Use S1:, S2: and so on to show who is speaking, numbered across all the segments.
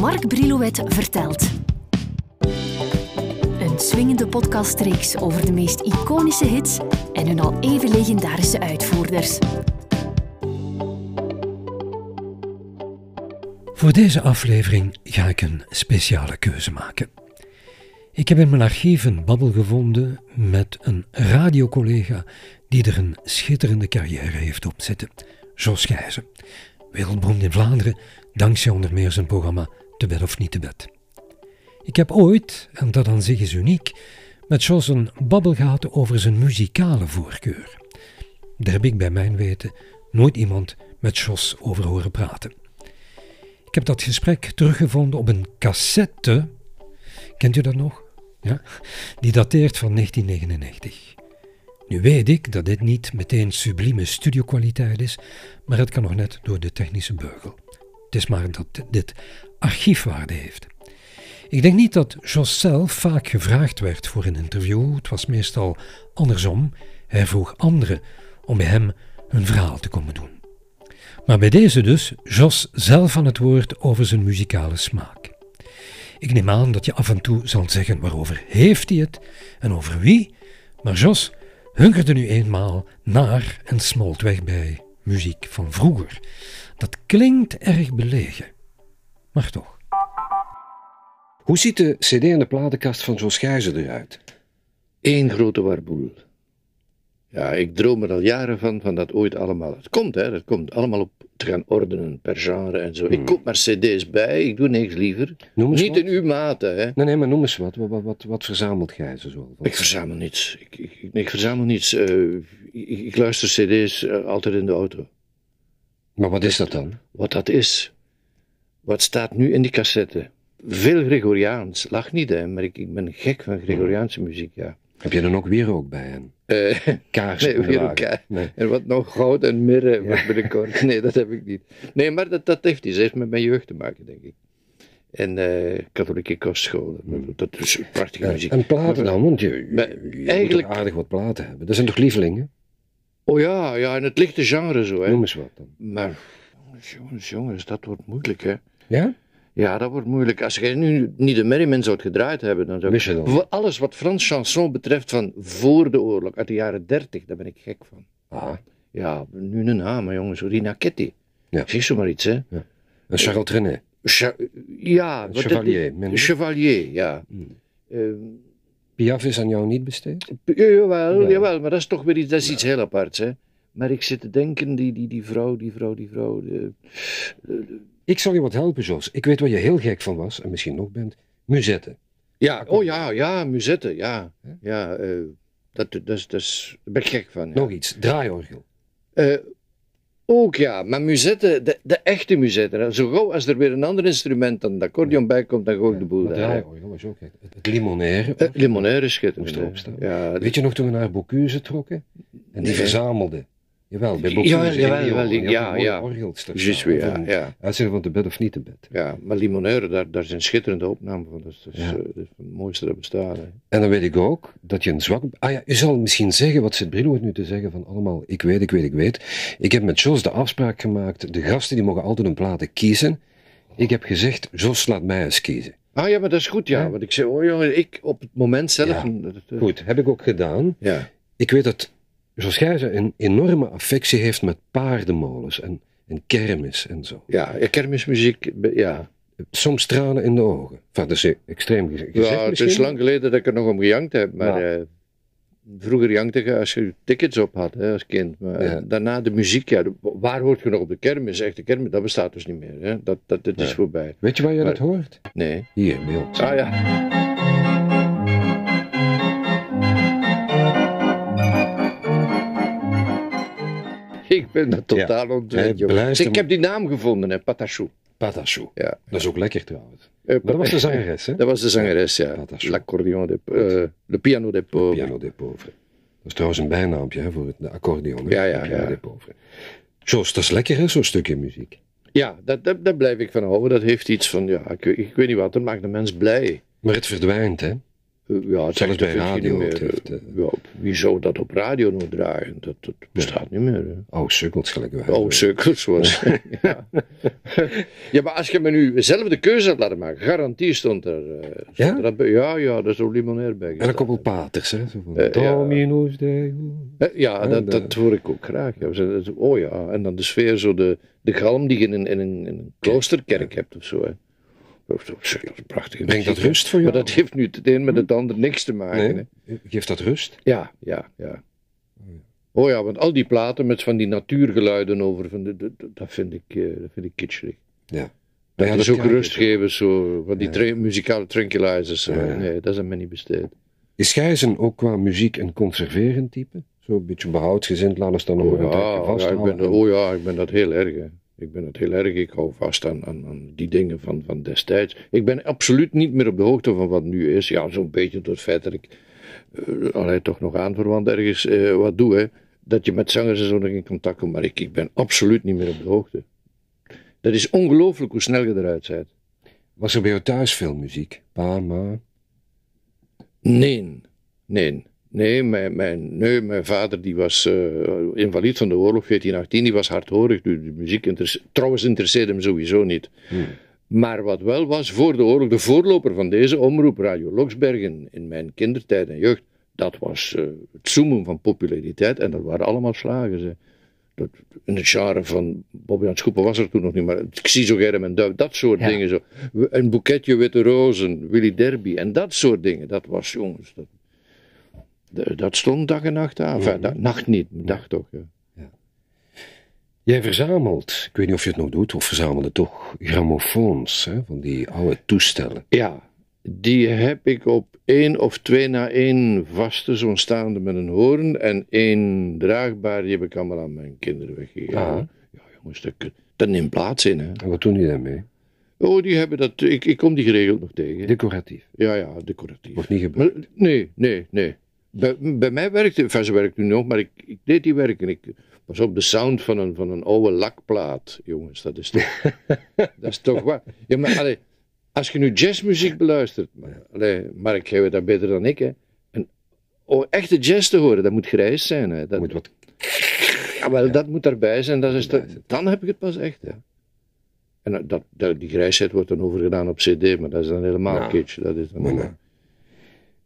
S1: Mark Brilouet vertelt. Een swingende podcastreeks over de meest iconische hits en hun al even legendarische uitvoerders.
S2: Voor deze aflevering ga ik een speciale keuze maken. Ik heb in mijn archief een babbel gevonden met een radiocollega die er een schitterende carrière heeft op zitten, Jos Gijzen. Wereldberoemd in Vlaanderen, dankzij onder meer zijn programma Te Bed of Niet Te Bed. Ik heb ooit, en dat aan zich is uniek, met Jos een babbel gehad over zijn muzikale voorkeur. Daar heb ik bij mijn weten nooit iemand met Jos over horen praten. Ik heb dat gesprek teruggevonden op een cassette. Kent u dat nog? Ja? Die dateert van 1999. Nu weet ik dat dit niet meteen sublieme studiokwaliteit is, maar het kan nog net door de technische beugel. Het is maar dat dit archiefwaarde heeft. Ik denk niet dat Jos zelf vaak gevraagd werd voor een interview. Het was meestal andersom. Hij vroeg anderen om bij hem hun verhaal te komen doen. Maar bij deze dus Jos zelf aan het woord over zijn muzikale smaak. Ik neem aan dat je af en toe zal zeggen waarover heeft hij het en over wie, maar Jos hunkerde nu eenmaal naar en smolt weg bij muziek van vroeger. Dat klinkt erg belegen, maar toch.
S3: Hoe ziet de CD en de platenkast van Jos Gijzen eruit?
S4: Eén grote warboel. Ja, ik droom er al jaren van, van dat ooit allemaal. Het komt, hè, dat komt allemaal op te gaan ordenen per genre en zo. Ik koop maar CD's bij, ik doe niks liever.
S3: Noem eens
S4: Niet
S3: wat.
S4: in uw mate, hè.
S3: Nee, nee, maar noem eens wat. Wat, wat, wat, wat verzamelt Gijzen zo? Wat-
S4: Ik verzamel niets. Ik, ik, ik- ik verzamel niets. Eh, ik, ik luister CD's eh, altijd in de auto.
S3: Maar wat is dat dan?
S4: Wat dat is, wat staat nu in die cassette? Veel Gregoriaans. Lach niet, hè, maar ik, ik ben gek van Gregoriaanse muziek, ja.
S3: Heb je dan ook wierook bij hen?
S4: Eh,
S3: Kaarsen?
S4: nee,
S3: in de
S4: weer
S3: wagen?
S4: elkaar.
S3: Nee.
S4: En wat nog goud en mirre voor binnenkort. Nee, dat heb ik niet. Nee, maar dat, dat heeft iets. Dat heeft met mijn jeugd te maken, denk ik. En eh, katholieke kostscholen. Dat is prachtige muziek.
S3: Hmm. En platen dan? Want je, je,
S4: Maar
S3: je moet
S4: eigenlijk-
S3: toch aardig wat platen hebben. Dat zijn toch lievelingen?
S4: Oh ja, ja, en het lichte genre zo, hè.
S3: Noem eens wat dan.
S4: Maar, jongens, jongens, jongens, dat wordt moeilijk, hè.
S3: Ja?
S4: Ja, dat wordt moeilijk. Als jij nu niet de Merryman zou het gedraaid hebben, dan zou ik...
S3: Wist je dat?
S4: Voor Alles wat Frans chanson betreft van voor de oorlog, uit de jaren dertig, daar ben ik gek van.
S3: Ah,
S4: Ja, nu een hamer, jongens. Rina Ketty.
S3: Ja.
S4: Zeg zo maar iets, hè.
S3: een Charles Trenet.
S4: Cha- ja,
S3: Een
S4: wat-
S3: chevalier,
S4: dat-
S3: minder.
S4: Chevalier, ja.
S3: Hmm.
S4: Ehm,
S3: Piaf is aan jou niet besteed?
S4: p- jawel,
S3: Ja.
S4: jawel, maar dat is toch weer iets, dat is iets heel aparts, hè. Maar ik zit te denken, die, die, die vrouw, die vrouw, die vrouw. de- eh,
S3: Ik zal je wat helpen, Jos. Ik weet waar je heel gek van was, en misschien nog bent. Muzetten.
S4: Ja, oh ja, ja, Musette, ja. Ja, eh, dat, dat, is- dat is, daar ben ik gek van. ja.
S3: Nog iets. Draaiorgel.
S4: Eh, ook ja, maar Musette, de, de echte Musette. hè. Zo gauw als er weer een ander instrument dan de accordeon bij komt, dan gooi ik de boel
S3: Maar
S4: daar.
S3: Draaiorgel was ook gek. Het, het limonaire.
S4: Eh, Limonaire is schitterend.
S3: Moest erop staan.
S4: hè. Ja,
S3: Weet je nog toen we naar Bocuse trokken? En die
S4: Nee.
S3: verzamelden. Jawel, bij
S4: Ja,
S3: Bocuse. in
S4: jawel,
S3: Lyon.
S4: jawel,
S3: Die had
S4: ja,
S3: een mooi
S4: ja.
S3: orgelstuk
S4: juist
S3: staan.
S4: weer,
S3: Van-
S4: ja. ja.
S3: Uitzending van te bed of niet te bed.
S4: Ja, maar Limonaire, daar, daar zijn schitterende opnamen van. Dat is, dat is,
S3: Ja.
S4: eh, dat is het mooiste dat bestaat. hè.
S3: En dan weet ik ook dat je een zwak... Ah ja, u zal misschien zeggen, wat zit Brillo nu te zeggen van allemaal, ik weet, ik weet, ik weet. Ik heb met Jos de afspraak gemaakt, de gasten die mogen altijd hun platen kiezen. Ik heb gezegd, Jos laat mij eens kiezen.
S4: Ah ja, maar dat is goed, ja.
S3: Ja.
S4: Want ik zei, oh jongen, ik op het moment zelf...
S3: Ja.
S4: dat- dat- dat-
S3: Goed, heb ik ook gedaan.
S4: Ja.
S3: Ik weet dat Jos Gijzen een enorme affectie heeft met paardenmolens en, en kermis en zo.
S4: Ja, ja, kermismuziek, be- ja.
S3: Soms tranen in de ogen. Enfin, dat is extreem gez- gezegd
S4: ja het is
S3: misschien.
S4: lang geleden dat ik er nog om gejankt heb, maar...
S3: Ja.
S4: eh, Vroeger jankte je als je je tickets op had hè, als kind. Maar
S3: Ja.
S4: eh, daarna de muziek, ja, de- waar hoort je nog op de kermis? Echte kermis, dat bestaat dus niet meer. Hè. Dat, dat, dit is
S3: Ja.
S4: voorbij.
S3: Weet je waar je
S4: Maar-
S3: dat hoort?
S4: Nee.
S3: Hier, bij ons.
S4: Ah ja. Ik ben dat
S3: Ja.
S4: totaal
S3: Hij
S4: ontwend, jongen.
S3: beluistert
S4: Zeg, Ik
S3: hem.
S4: heb die naam gevonden, hè, Patachou.
S3: Patachou.
S4: Ja.
S3: Dat is ook lekker trouwens.
S4: Eh,
S3: Maar dat was de
S4: Pat-
S3: zangeres, hè?
S4: Dat was de zangeres, ja.
S3: Patachou.
S4: L'accordeon de... eh, le piano de pauvre.
S3: Piano de Pauvre. Dat is trouwens een bijnaampje hè, voor het de accordeon. hè?
S4: Ja, ja,
S3: Piano
S4: ja.
S3: de Pauvre. Jos, dat is lekker hè, zo'n stukje muziek.
S4: Ja, dat, dat, daar blijf ik van houden. Dat heeft iets van, ja, ik, weet- ik weet niet wat, dat maakt de mens blij.
S3: Maar het verdwijnt hè.
S4: Eh, Eh, Ja, het
S3: Zelfs
S4: dat
S3: bij
S4: vind je
S3: radio,
S4: niet meer.
S3: het heeft,
S4: eh,
S3: eh,
S4: ja, op- wie zou dat op radio nog draaien? Dat, dat bestaat niet meer. Hè.
S3: Oude sukkels gelijk wij.
S4: Oh, cirkels was. ja. ja, maar als je me nu zelf de keuze had laten maken, garantie stond er. eh, stond
S3: Ja?
S4: er dat bij- ja, ja, dat is ook limonair bij.
S3: En een koppel paters, hè. Zo van,
S4: Eh, ja.
S3: Dominus Deo.
S4: Eh, Ja,
S3: En,
S4: dat,
S3: eh,
S4: dat hoor ik ook graag. ja. We zijn- dat- Oh ja, en dan de sfeer, zo de, de galm die je in een, in een, in een kloosterkerk hebt of zo. Hè. Dat is- dat is prachtig.
S3: Brengt dat rust voor jou? Hm?
S4: Maar dat heeft nu het een met het ander niks te maken. hè.
S3: Nee, geeft dat rust?
S4: Ja, ja, ja. Oh ja, want al die platen met van die natuurgeluiden over, van de, de- de- dat, vind ik, eh, dat vind ik kitscherig.
S3: Ja.
S4: Dat
S3: ja,
S4: is
S3: dat
S4: dus ook
S3: kan ik
S4: rustgevers, zo, van die
S3: Ja.
S4: tra- muzikale tranquilizers. zo.
S3: Ja, ja.
S4: Nee, dat is aan mij niet besteed.
S3: Is Gijzen ook qua muziek een conserverend type? Zo'n beetje behoudsgezind, laten we Oh, dan nog een tijdje
S4: ja, ik
S3: vasthouden.
S4: ben, oh ja, ik ben dat heel erg. hè. Ik ben dat heel erg. Ik hou vast aan, aan, aan die dingen van, van destijds. Ik ben absoluut niet meer op de hoogte van wat nu is. Ja, zo'n beetje door het feit dat ik eh, allee, toch nog aanverwant ergens eh, wat doe. Hè. Dat je met zangers en zo nog in contact komt. Maar ik, ik ben absoluut niet meer op de hoogte. Dat is ongelooflijk hoe snel je eruit bent.
S3: Was er bij jou thuis veel muziek? Pa, ma?
S4: Nee, nee. Nee, mijn, mijn, nee, mijn vader die was eh, invalid van de oorlog 1418, die was hardhorig. De, de muziek interesse- trouwens interesseerde hem sowieso niet. Maar wat wel was, voor de oorlog, de voorloper van deze omroep, Radio Loksbergen, in mijn kindertijd en jeugd, dat was eh, het zoomen van populariteit en dat waren allemaal slagers. hè. Dat, in het genre van Bobby Jan Schoepen was er toen nog niet, maar Xizo Germ en Duif, dat soort
S5: Ja.
S4: dingen. Zo. We- Een boeketje witte rozen, Willy Derby en dat soort dingen. Dat was, jongens, dat, dat- dat stond dag en nacht aan. Enfin, da- nacht niet, maar dag toch. Ja.
S3: Jij verzamelt, ik weet niet of je het nog doet, of verzamelde toch grammofoons hè, van die oude toestellen.
S4: Ja, die heb ik op één of twee na één vaste, zo'n staande met een hoorn. En één draagbaar, die heb ik allemaal aan mijn kinderen weggegeven.
S3: Ja.
S4: Ja, jongens, dat, dat neemt plaats in, hè.
S3: En wat doen die daarmee?
S4: Oh, die hebben dat... Ik, ik kom die geregeld nog tegen.
S3: Decoratief.
S4: Ja, ja, decoratief.
S3: Wordt niet gebruikt.
S4: Maar, nee, nee, nee. Bij, bij mij werkte... Enfin, ze werkt nu nog, maar ik, ik deed die werken. Ik was op de sound van een, van een oude lakplaat. Jongens, dat is toch... dat is toch waar. Ja, maar allee, als je nu jazzmuziek beluistert... Maar, allee, Mark, jij weet dat beter dan ik, hè. En, om echte jazz te horen, dat moet grijs zijn, hè. Dat,
S3: Moet wat,
S4: ja, wel, dat moet daarbij zijn. Dat is dat, dan heb ik het pas echt, hè. En eh, dat, dat- die grijsheid wordt dan overgedaan op cd, maar dat is dan helemaal
S3: Ja.
S4: kitsch. Dat is dan
S3: maar nou.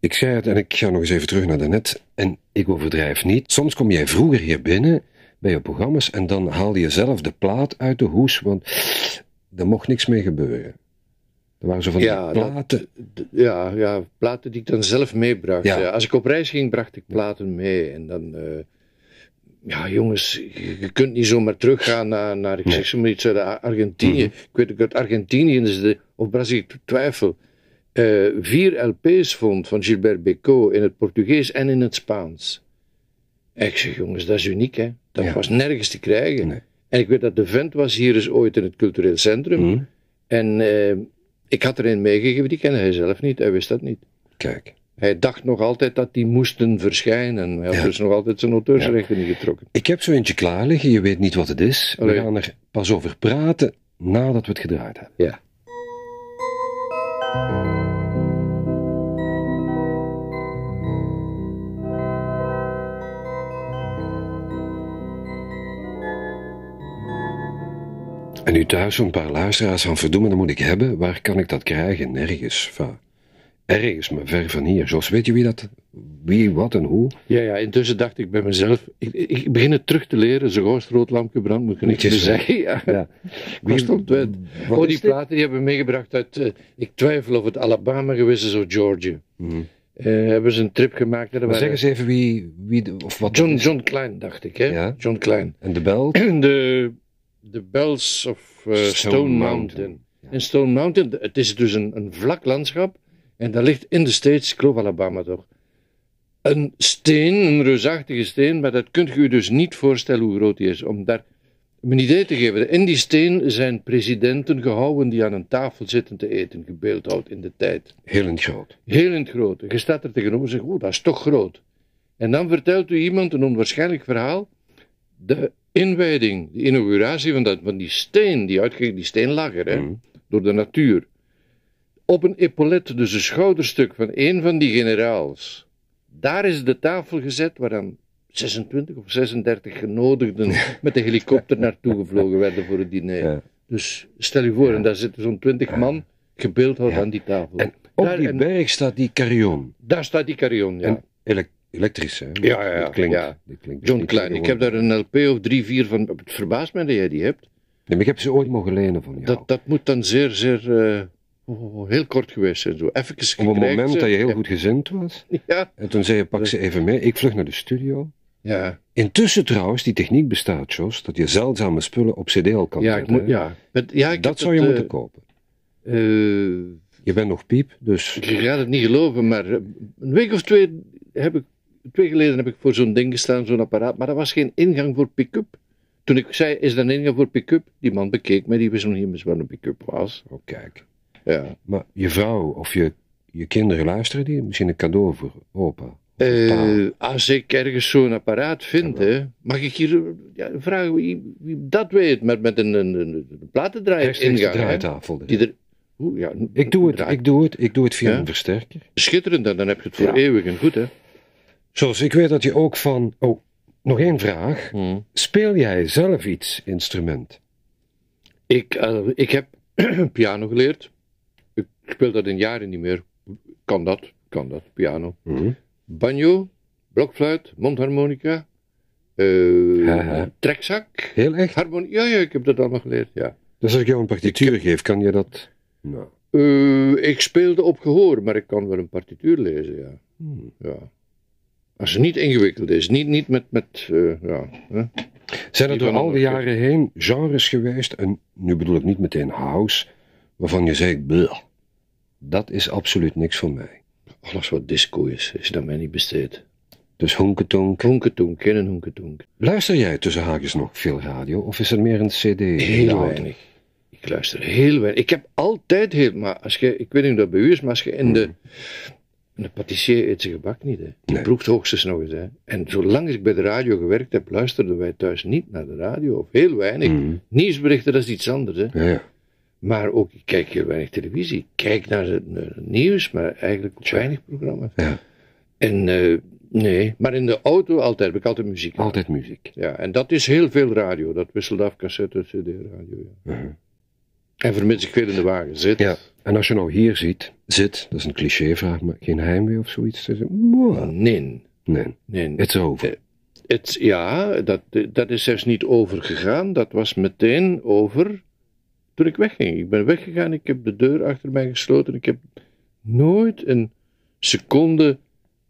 S3: Ik zei het en ik ga nog eens even terug naar daarnet. En ik overdrijf niet. Soms kom jij vroeger hier binnen bij je programma's en dan haal je zelf de plaat uit de hoes, want er mocht niks mee gebeuren. Er waren zo van
S4: Ja,
S3: die
S4: dat-
S3: platen.
S4: D- Ja, ja, platen die ik dan zelf meebracht.
S3: Ja.
S4: Ja. als ik op reis ging, bracht ik platen mee. En dan, eh, ja, jongens, je, je kunt niet zomaar teruggaan naar, naar ik zeg zomaar iets uit Ar- Argentinië.
S3: Mhm.
S4: Ik weet ook uit Argentinië is de, of Brazilië, ik twijfel. eh, vier LP's vond van Gilbert Bécaud in het Portugees en in het Spaans. En ik zeg, jongens, dat is uniek, hè? Dat
S3: Ja.
S4: was nergens te krijgen.
S3: Nee.
S4: En ik weet dat de vent was hier eens ooit in het cultureel centrum.
S3: Hm?
S4: En eh, ik had er een meegegeven, die kende hij zelf niet, hij wist dat niet.
S3: Kijk.
S4: Hij dacht nog altijd dat die moesten verschijnen. Hij had
S3: Ja.
S4: dus nog altijd zijn auteursrechten niet getrokken.
S3: Ik heb zo eentje klaar liggen, je weet niet wat het is. We
S4: Allee.
S3: gaan er pas over praten nadat we het gedraaid hebben.
S4: Ja.
S3: En nu thuis zo'n paar luisteraars van verdoemen, dat moet ik hebben. Waar kan ik dat krijgen? Nergens. Va. Ergens, maar ver van hier. Jos, weet je wie dat, wie, wat en hoe?
S4: Ja, ja, intussen dacht ik bij mezelf, ik, ik begin het terug te leren. Zo gauw is het rood lampje brandt, moet je niks
S3: Moet
S4: meer
S3: je zo.
S4: zeggen. Ja.
S3: Ja.
S4: Ik was toch kwijt.
S3: wat
S4: Oh,
S3: is
S4: die
S3: dit?
S4: platen die hebben we meegebracht uit, eh, ik twijfel of het Alabama geweest is of Georgia. Eh, hebben ze een trip gemaakt. en er
S3: Mhm. Maar
S4: waren-
S3: zeg eens even wie, wie de- of wat
S4: John,
S3: dat is.
S4: John Klein, dacht ik. Hè?
S3: Ja.
S4: John Klein.
S3: En de bel?
S4: de, de Bells of eh, Stone,
S3: Stone
S4: Mountain.
S3: Mountain. Ja.
S4: En Stone Mountain, d- het is dus een, een vlak landschap. En daar ligt in de States, ik geloof Alabama toch, een steen, een reusachtige steen. Maar dat kunt je je dus niet voorstellen hoe groot die is. Om daar om een idee te geven. In die steen zijn presidenten gehouden die aan een tafel zitten te eten, gebeeldhouwd in de tijd.
S3: Heel in het groot.
S4: Heel in het groot. Je staat er tegenover en zegt, oh, dat is toch groot. En dan vertelt u iemand een onwaarschijnlijk verhaal. De inwijding, de inauguratie van, dat, van die steen, die uitging, die steen lag er, hè,
S3: Mhm.
S4: door de natuur. Op een epaulet, dus een schouderstuk van een van die generaals. Daar is de tafel gezet waaraan 26 of 36 genodigden met de helikopter naartoe gevlogen werden voor het diner.
S3: Ja.
S4: Dus stel je voor, en daar zitten zo'n 20 man gebeeldhouwd
S3: Ja.
S4: aan die tafel.
S3: En op
S4: daar,
S3: die
S4: en-
S3: berg staat die carillon.
S4: daar staat die carillon, ja.
S3: En elek- elektrisch, hè?
S4: Ja, ja, ja.
S3: Dat klinkt,
S4: Ja.
S3: dat klinkt
S4: John
S3: niet
S4: Klein, ik heb
S3: gewoon.
S4: daar een LP of drie, vier van. Het verbaast mij dat jij die hebt.
S3: Nee, maar ik heb ze ooit mogen lenen van jou.
S4: Dat, dat moet dan zeer, zeer. eh, oh, oh, oh, heel kort geweest zijn. Zo. Even eh,
S3: Op het moment dat je heel goed gezind was.
S4: Ja,
S3: En toen zei je, pak ze even mee. Ik vlug naar de studio.
S4: ja,
S3: Intussen trouwens, die techniek bestaat, Jos, dat je zeldzame spullen op cd al kan
S4: ja, ik
S3: zetten,
S4: moet,
S3: hè.
S4: ja. Het- ja ik
S3: Dat
S4: heb
S3: zou je
S4: het,
S3: moeten
S4: eh,
S3: kopen.
S4: eh,
S3: Je bent nog piep, dus...
S4: Je gaat het niet geloven, maar eh, een week of twee, heb ik, twee geleden heb ik voor zo'n ding gestaan, zo'n apparaat, maar dat was geen ingang voor pick-up. Toen ik zei, is er een ingang voor pick-up? Die man bekeek mij, die wist nog niet eens wat een pick-up was.
S3: Oh, kijk.
S4: Ja.
S3: Maar je vrouw of je, je kinderen luisteren die? Misschien een cadeau voor opa.
S4: Eh, als ik ergens zo'n apparaat vind, hè, mag ik hier eh, ja, vragen wie, wie dat weet, met, met een, een, een, een platendraaier
S3: Rechtstreeks de
S4: ingang. hè,
S3: draaitafel. dus.
S4: die er, Oeh, ja, een-
S3: Ik doe het,
S4: draai-
S3: ik doe het, ik doe het via
S4: Ja?
S3: een versterker.
S4: Schitterend, dan dan heb je het voor
S3: Ja.
S4: eeuwig en goed, hè.
S3: Jos, ik weet dat je ook van... Oh, nog één vraag. Speel jij zelf iets, instrument?
S4: Ik, eh, ik heb piano geleerd. Ik speel dat in jaren niet meer. Kan dat, kan dat, piano. Banjo, blokfluit, mondharmonica, eh,
S3: Haha.
S4: trekzak,
S3: Heel echt?
S4: harmonie. Ja, ja, ik heb dat allemaal geleerd, ja.
S3: Dus als ik jou een partituur geef, kan je dat... Nou.
S4: Eh, ik speelde op gehoor, maar ik kan wel een partituur lezen, ja.
S3: Hmm.
S4: ja. Als het niet ingewikkeld is, niet, niet met, met eh, ja. hè.
S3: Zijn er
S4: Die
S3: door
S4: van
S3: al die
S4: Anderke.
S3: jaren heen genres geweest, en nu bedoel ik niet meteen house, waarvan je zegt, "Bleh, dat is absoluut niks voor mij.
S4: Alles wat disco is, is dat mij niet besteed.
S3: Dus honketonk.
S4: Honketonk, geen honketonk.
S3: Luister jij tussen haakjes nog veel radio, of is het meer een cd?
S4: Heel weinig. Ik luister heel weinig. Ik heb altijd heel... Maar als je, ik weet niet hoe dat bij u is, maar als je in de... in de patissier eet zijn gebak niet, hè. Die
S3: Nee.
S4: proeft hoogstens nog eens, hè. En zolang ik bij de radio gewerkt heb, luisterden wij thuis niet naar de radio. Of heel weinig.
S3: Mhm.
S4: Nieuwsberichten, dat is iets anders, hè.
S3: Ja, ja.
S4: Maar ook, ik kijk heel weinig televisie. Ik kijk naar het, naar het nieuws, maar eigenlijk ook weinig programma's.
S3: Ja.
S4: En... eh, Nee, maar in de auto altijd, heb ik altijd muziek.
S3: Altijd muziek.
S4: Ja, en dat is heel veel radio. Dat wisselt af, cassette, cd, radio. Ja.
S3: Mhm.
S4: En vermits ik veel in de wagen zit.
S3: Ja. En als je nou hier ziet, zit, dat is een clichévraag, maar geen heimwee of zoiets. dan zeg je, "Mwah."
S4: Nee,
S3: Nee,
S4: nee.
S3: het is over.
S4: Het- ja, dat, dat is zelfs niet overgegaan. Dat was meteen over toen ik wegging. Ik ben weggegaan, ik heb de deur achter mij gesloten. Ik heb nooit een seconde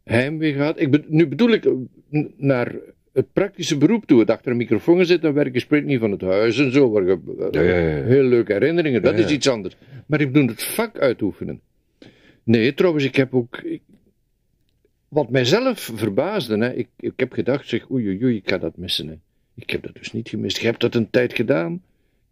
S4: heimwee gehad. Ik be- nu bedoel ik eh, n- naar het praktische beroep toe. Het achter een microfoon zit, dan werk je spreekt niet van het huis en zo. Waar je,
S3: Ja, ja, ja.
S4: Eh, Heel leuke herinneringen, dat
S3: Ja, ja.
S4: is iets anders. Maar ik bedoel het vak uitoefenen. Nee, trouwens, ik heb ook... ik- wat mijzelf verbaasde, hè, ik, ik heb gedacht, zeg, oei, oei, oei, ik ga dat missen. Hè. Ik heb dat dus niet gemist. Je hebt dat een tijd gedaan.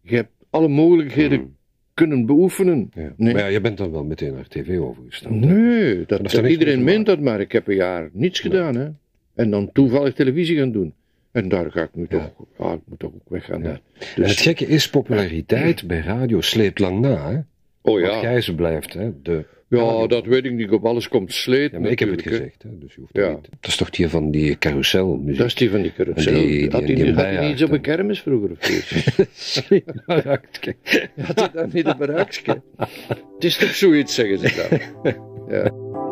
S4: Je hebt alle mogelijkheden
S3: Mhm.
S4: kunnen beoefenen.
S3: Ja.
S4: Nee.
S3: Maar ja, je bent dan wel meteen naar tv overgestapt.
S4: Nee,
S3: heeft
S4: dat,
S3: daar niks mee
S4: iedereen
S3: te
S4: meent dat maar. Ik heb een jaar niets gedaan. Hè? En dan toevallig televisie gaan doen. En daar ga ik nu
S3: Ja.
S4: toch, ja, ik moet toch ook weggaan.
S3: Ja.
S4: daar.
S3: En het
S4: Dus,
S3: gekke is, populariteit bij radio sleept lang na. Hè?
S4: oh
S3: Want
S4: ja,
S3: Gijs blijft, hè? De,
S4: ja, dat weet ik niet. Op alles komt sleet
S3: ja, maar ik heb het
S4: natuurlijk, hè.
S3: gezegd, hè? dus je hoeft
S4: Ja.
S3: het niet. Dat is toch die van die carouselmuziek?
S4: Dat is die van die carousel.
S3: Die- die-
S4: had hij
S3: die
S4: niet- had hij
S3: bijaard,
S4: niet iets op
S3: hè.
S4: een kermis vroeger of zoiets? had hij dat niet een baraakje? Het is toch zoiets, zeggen ze dan.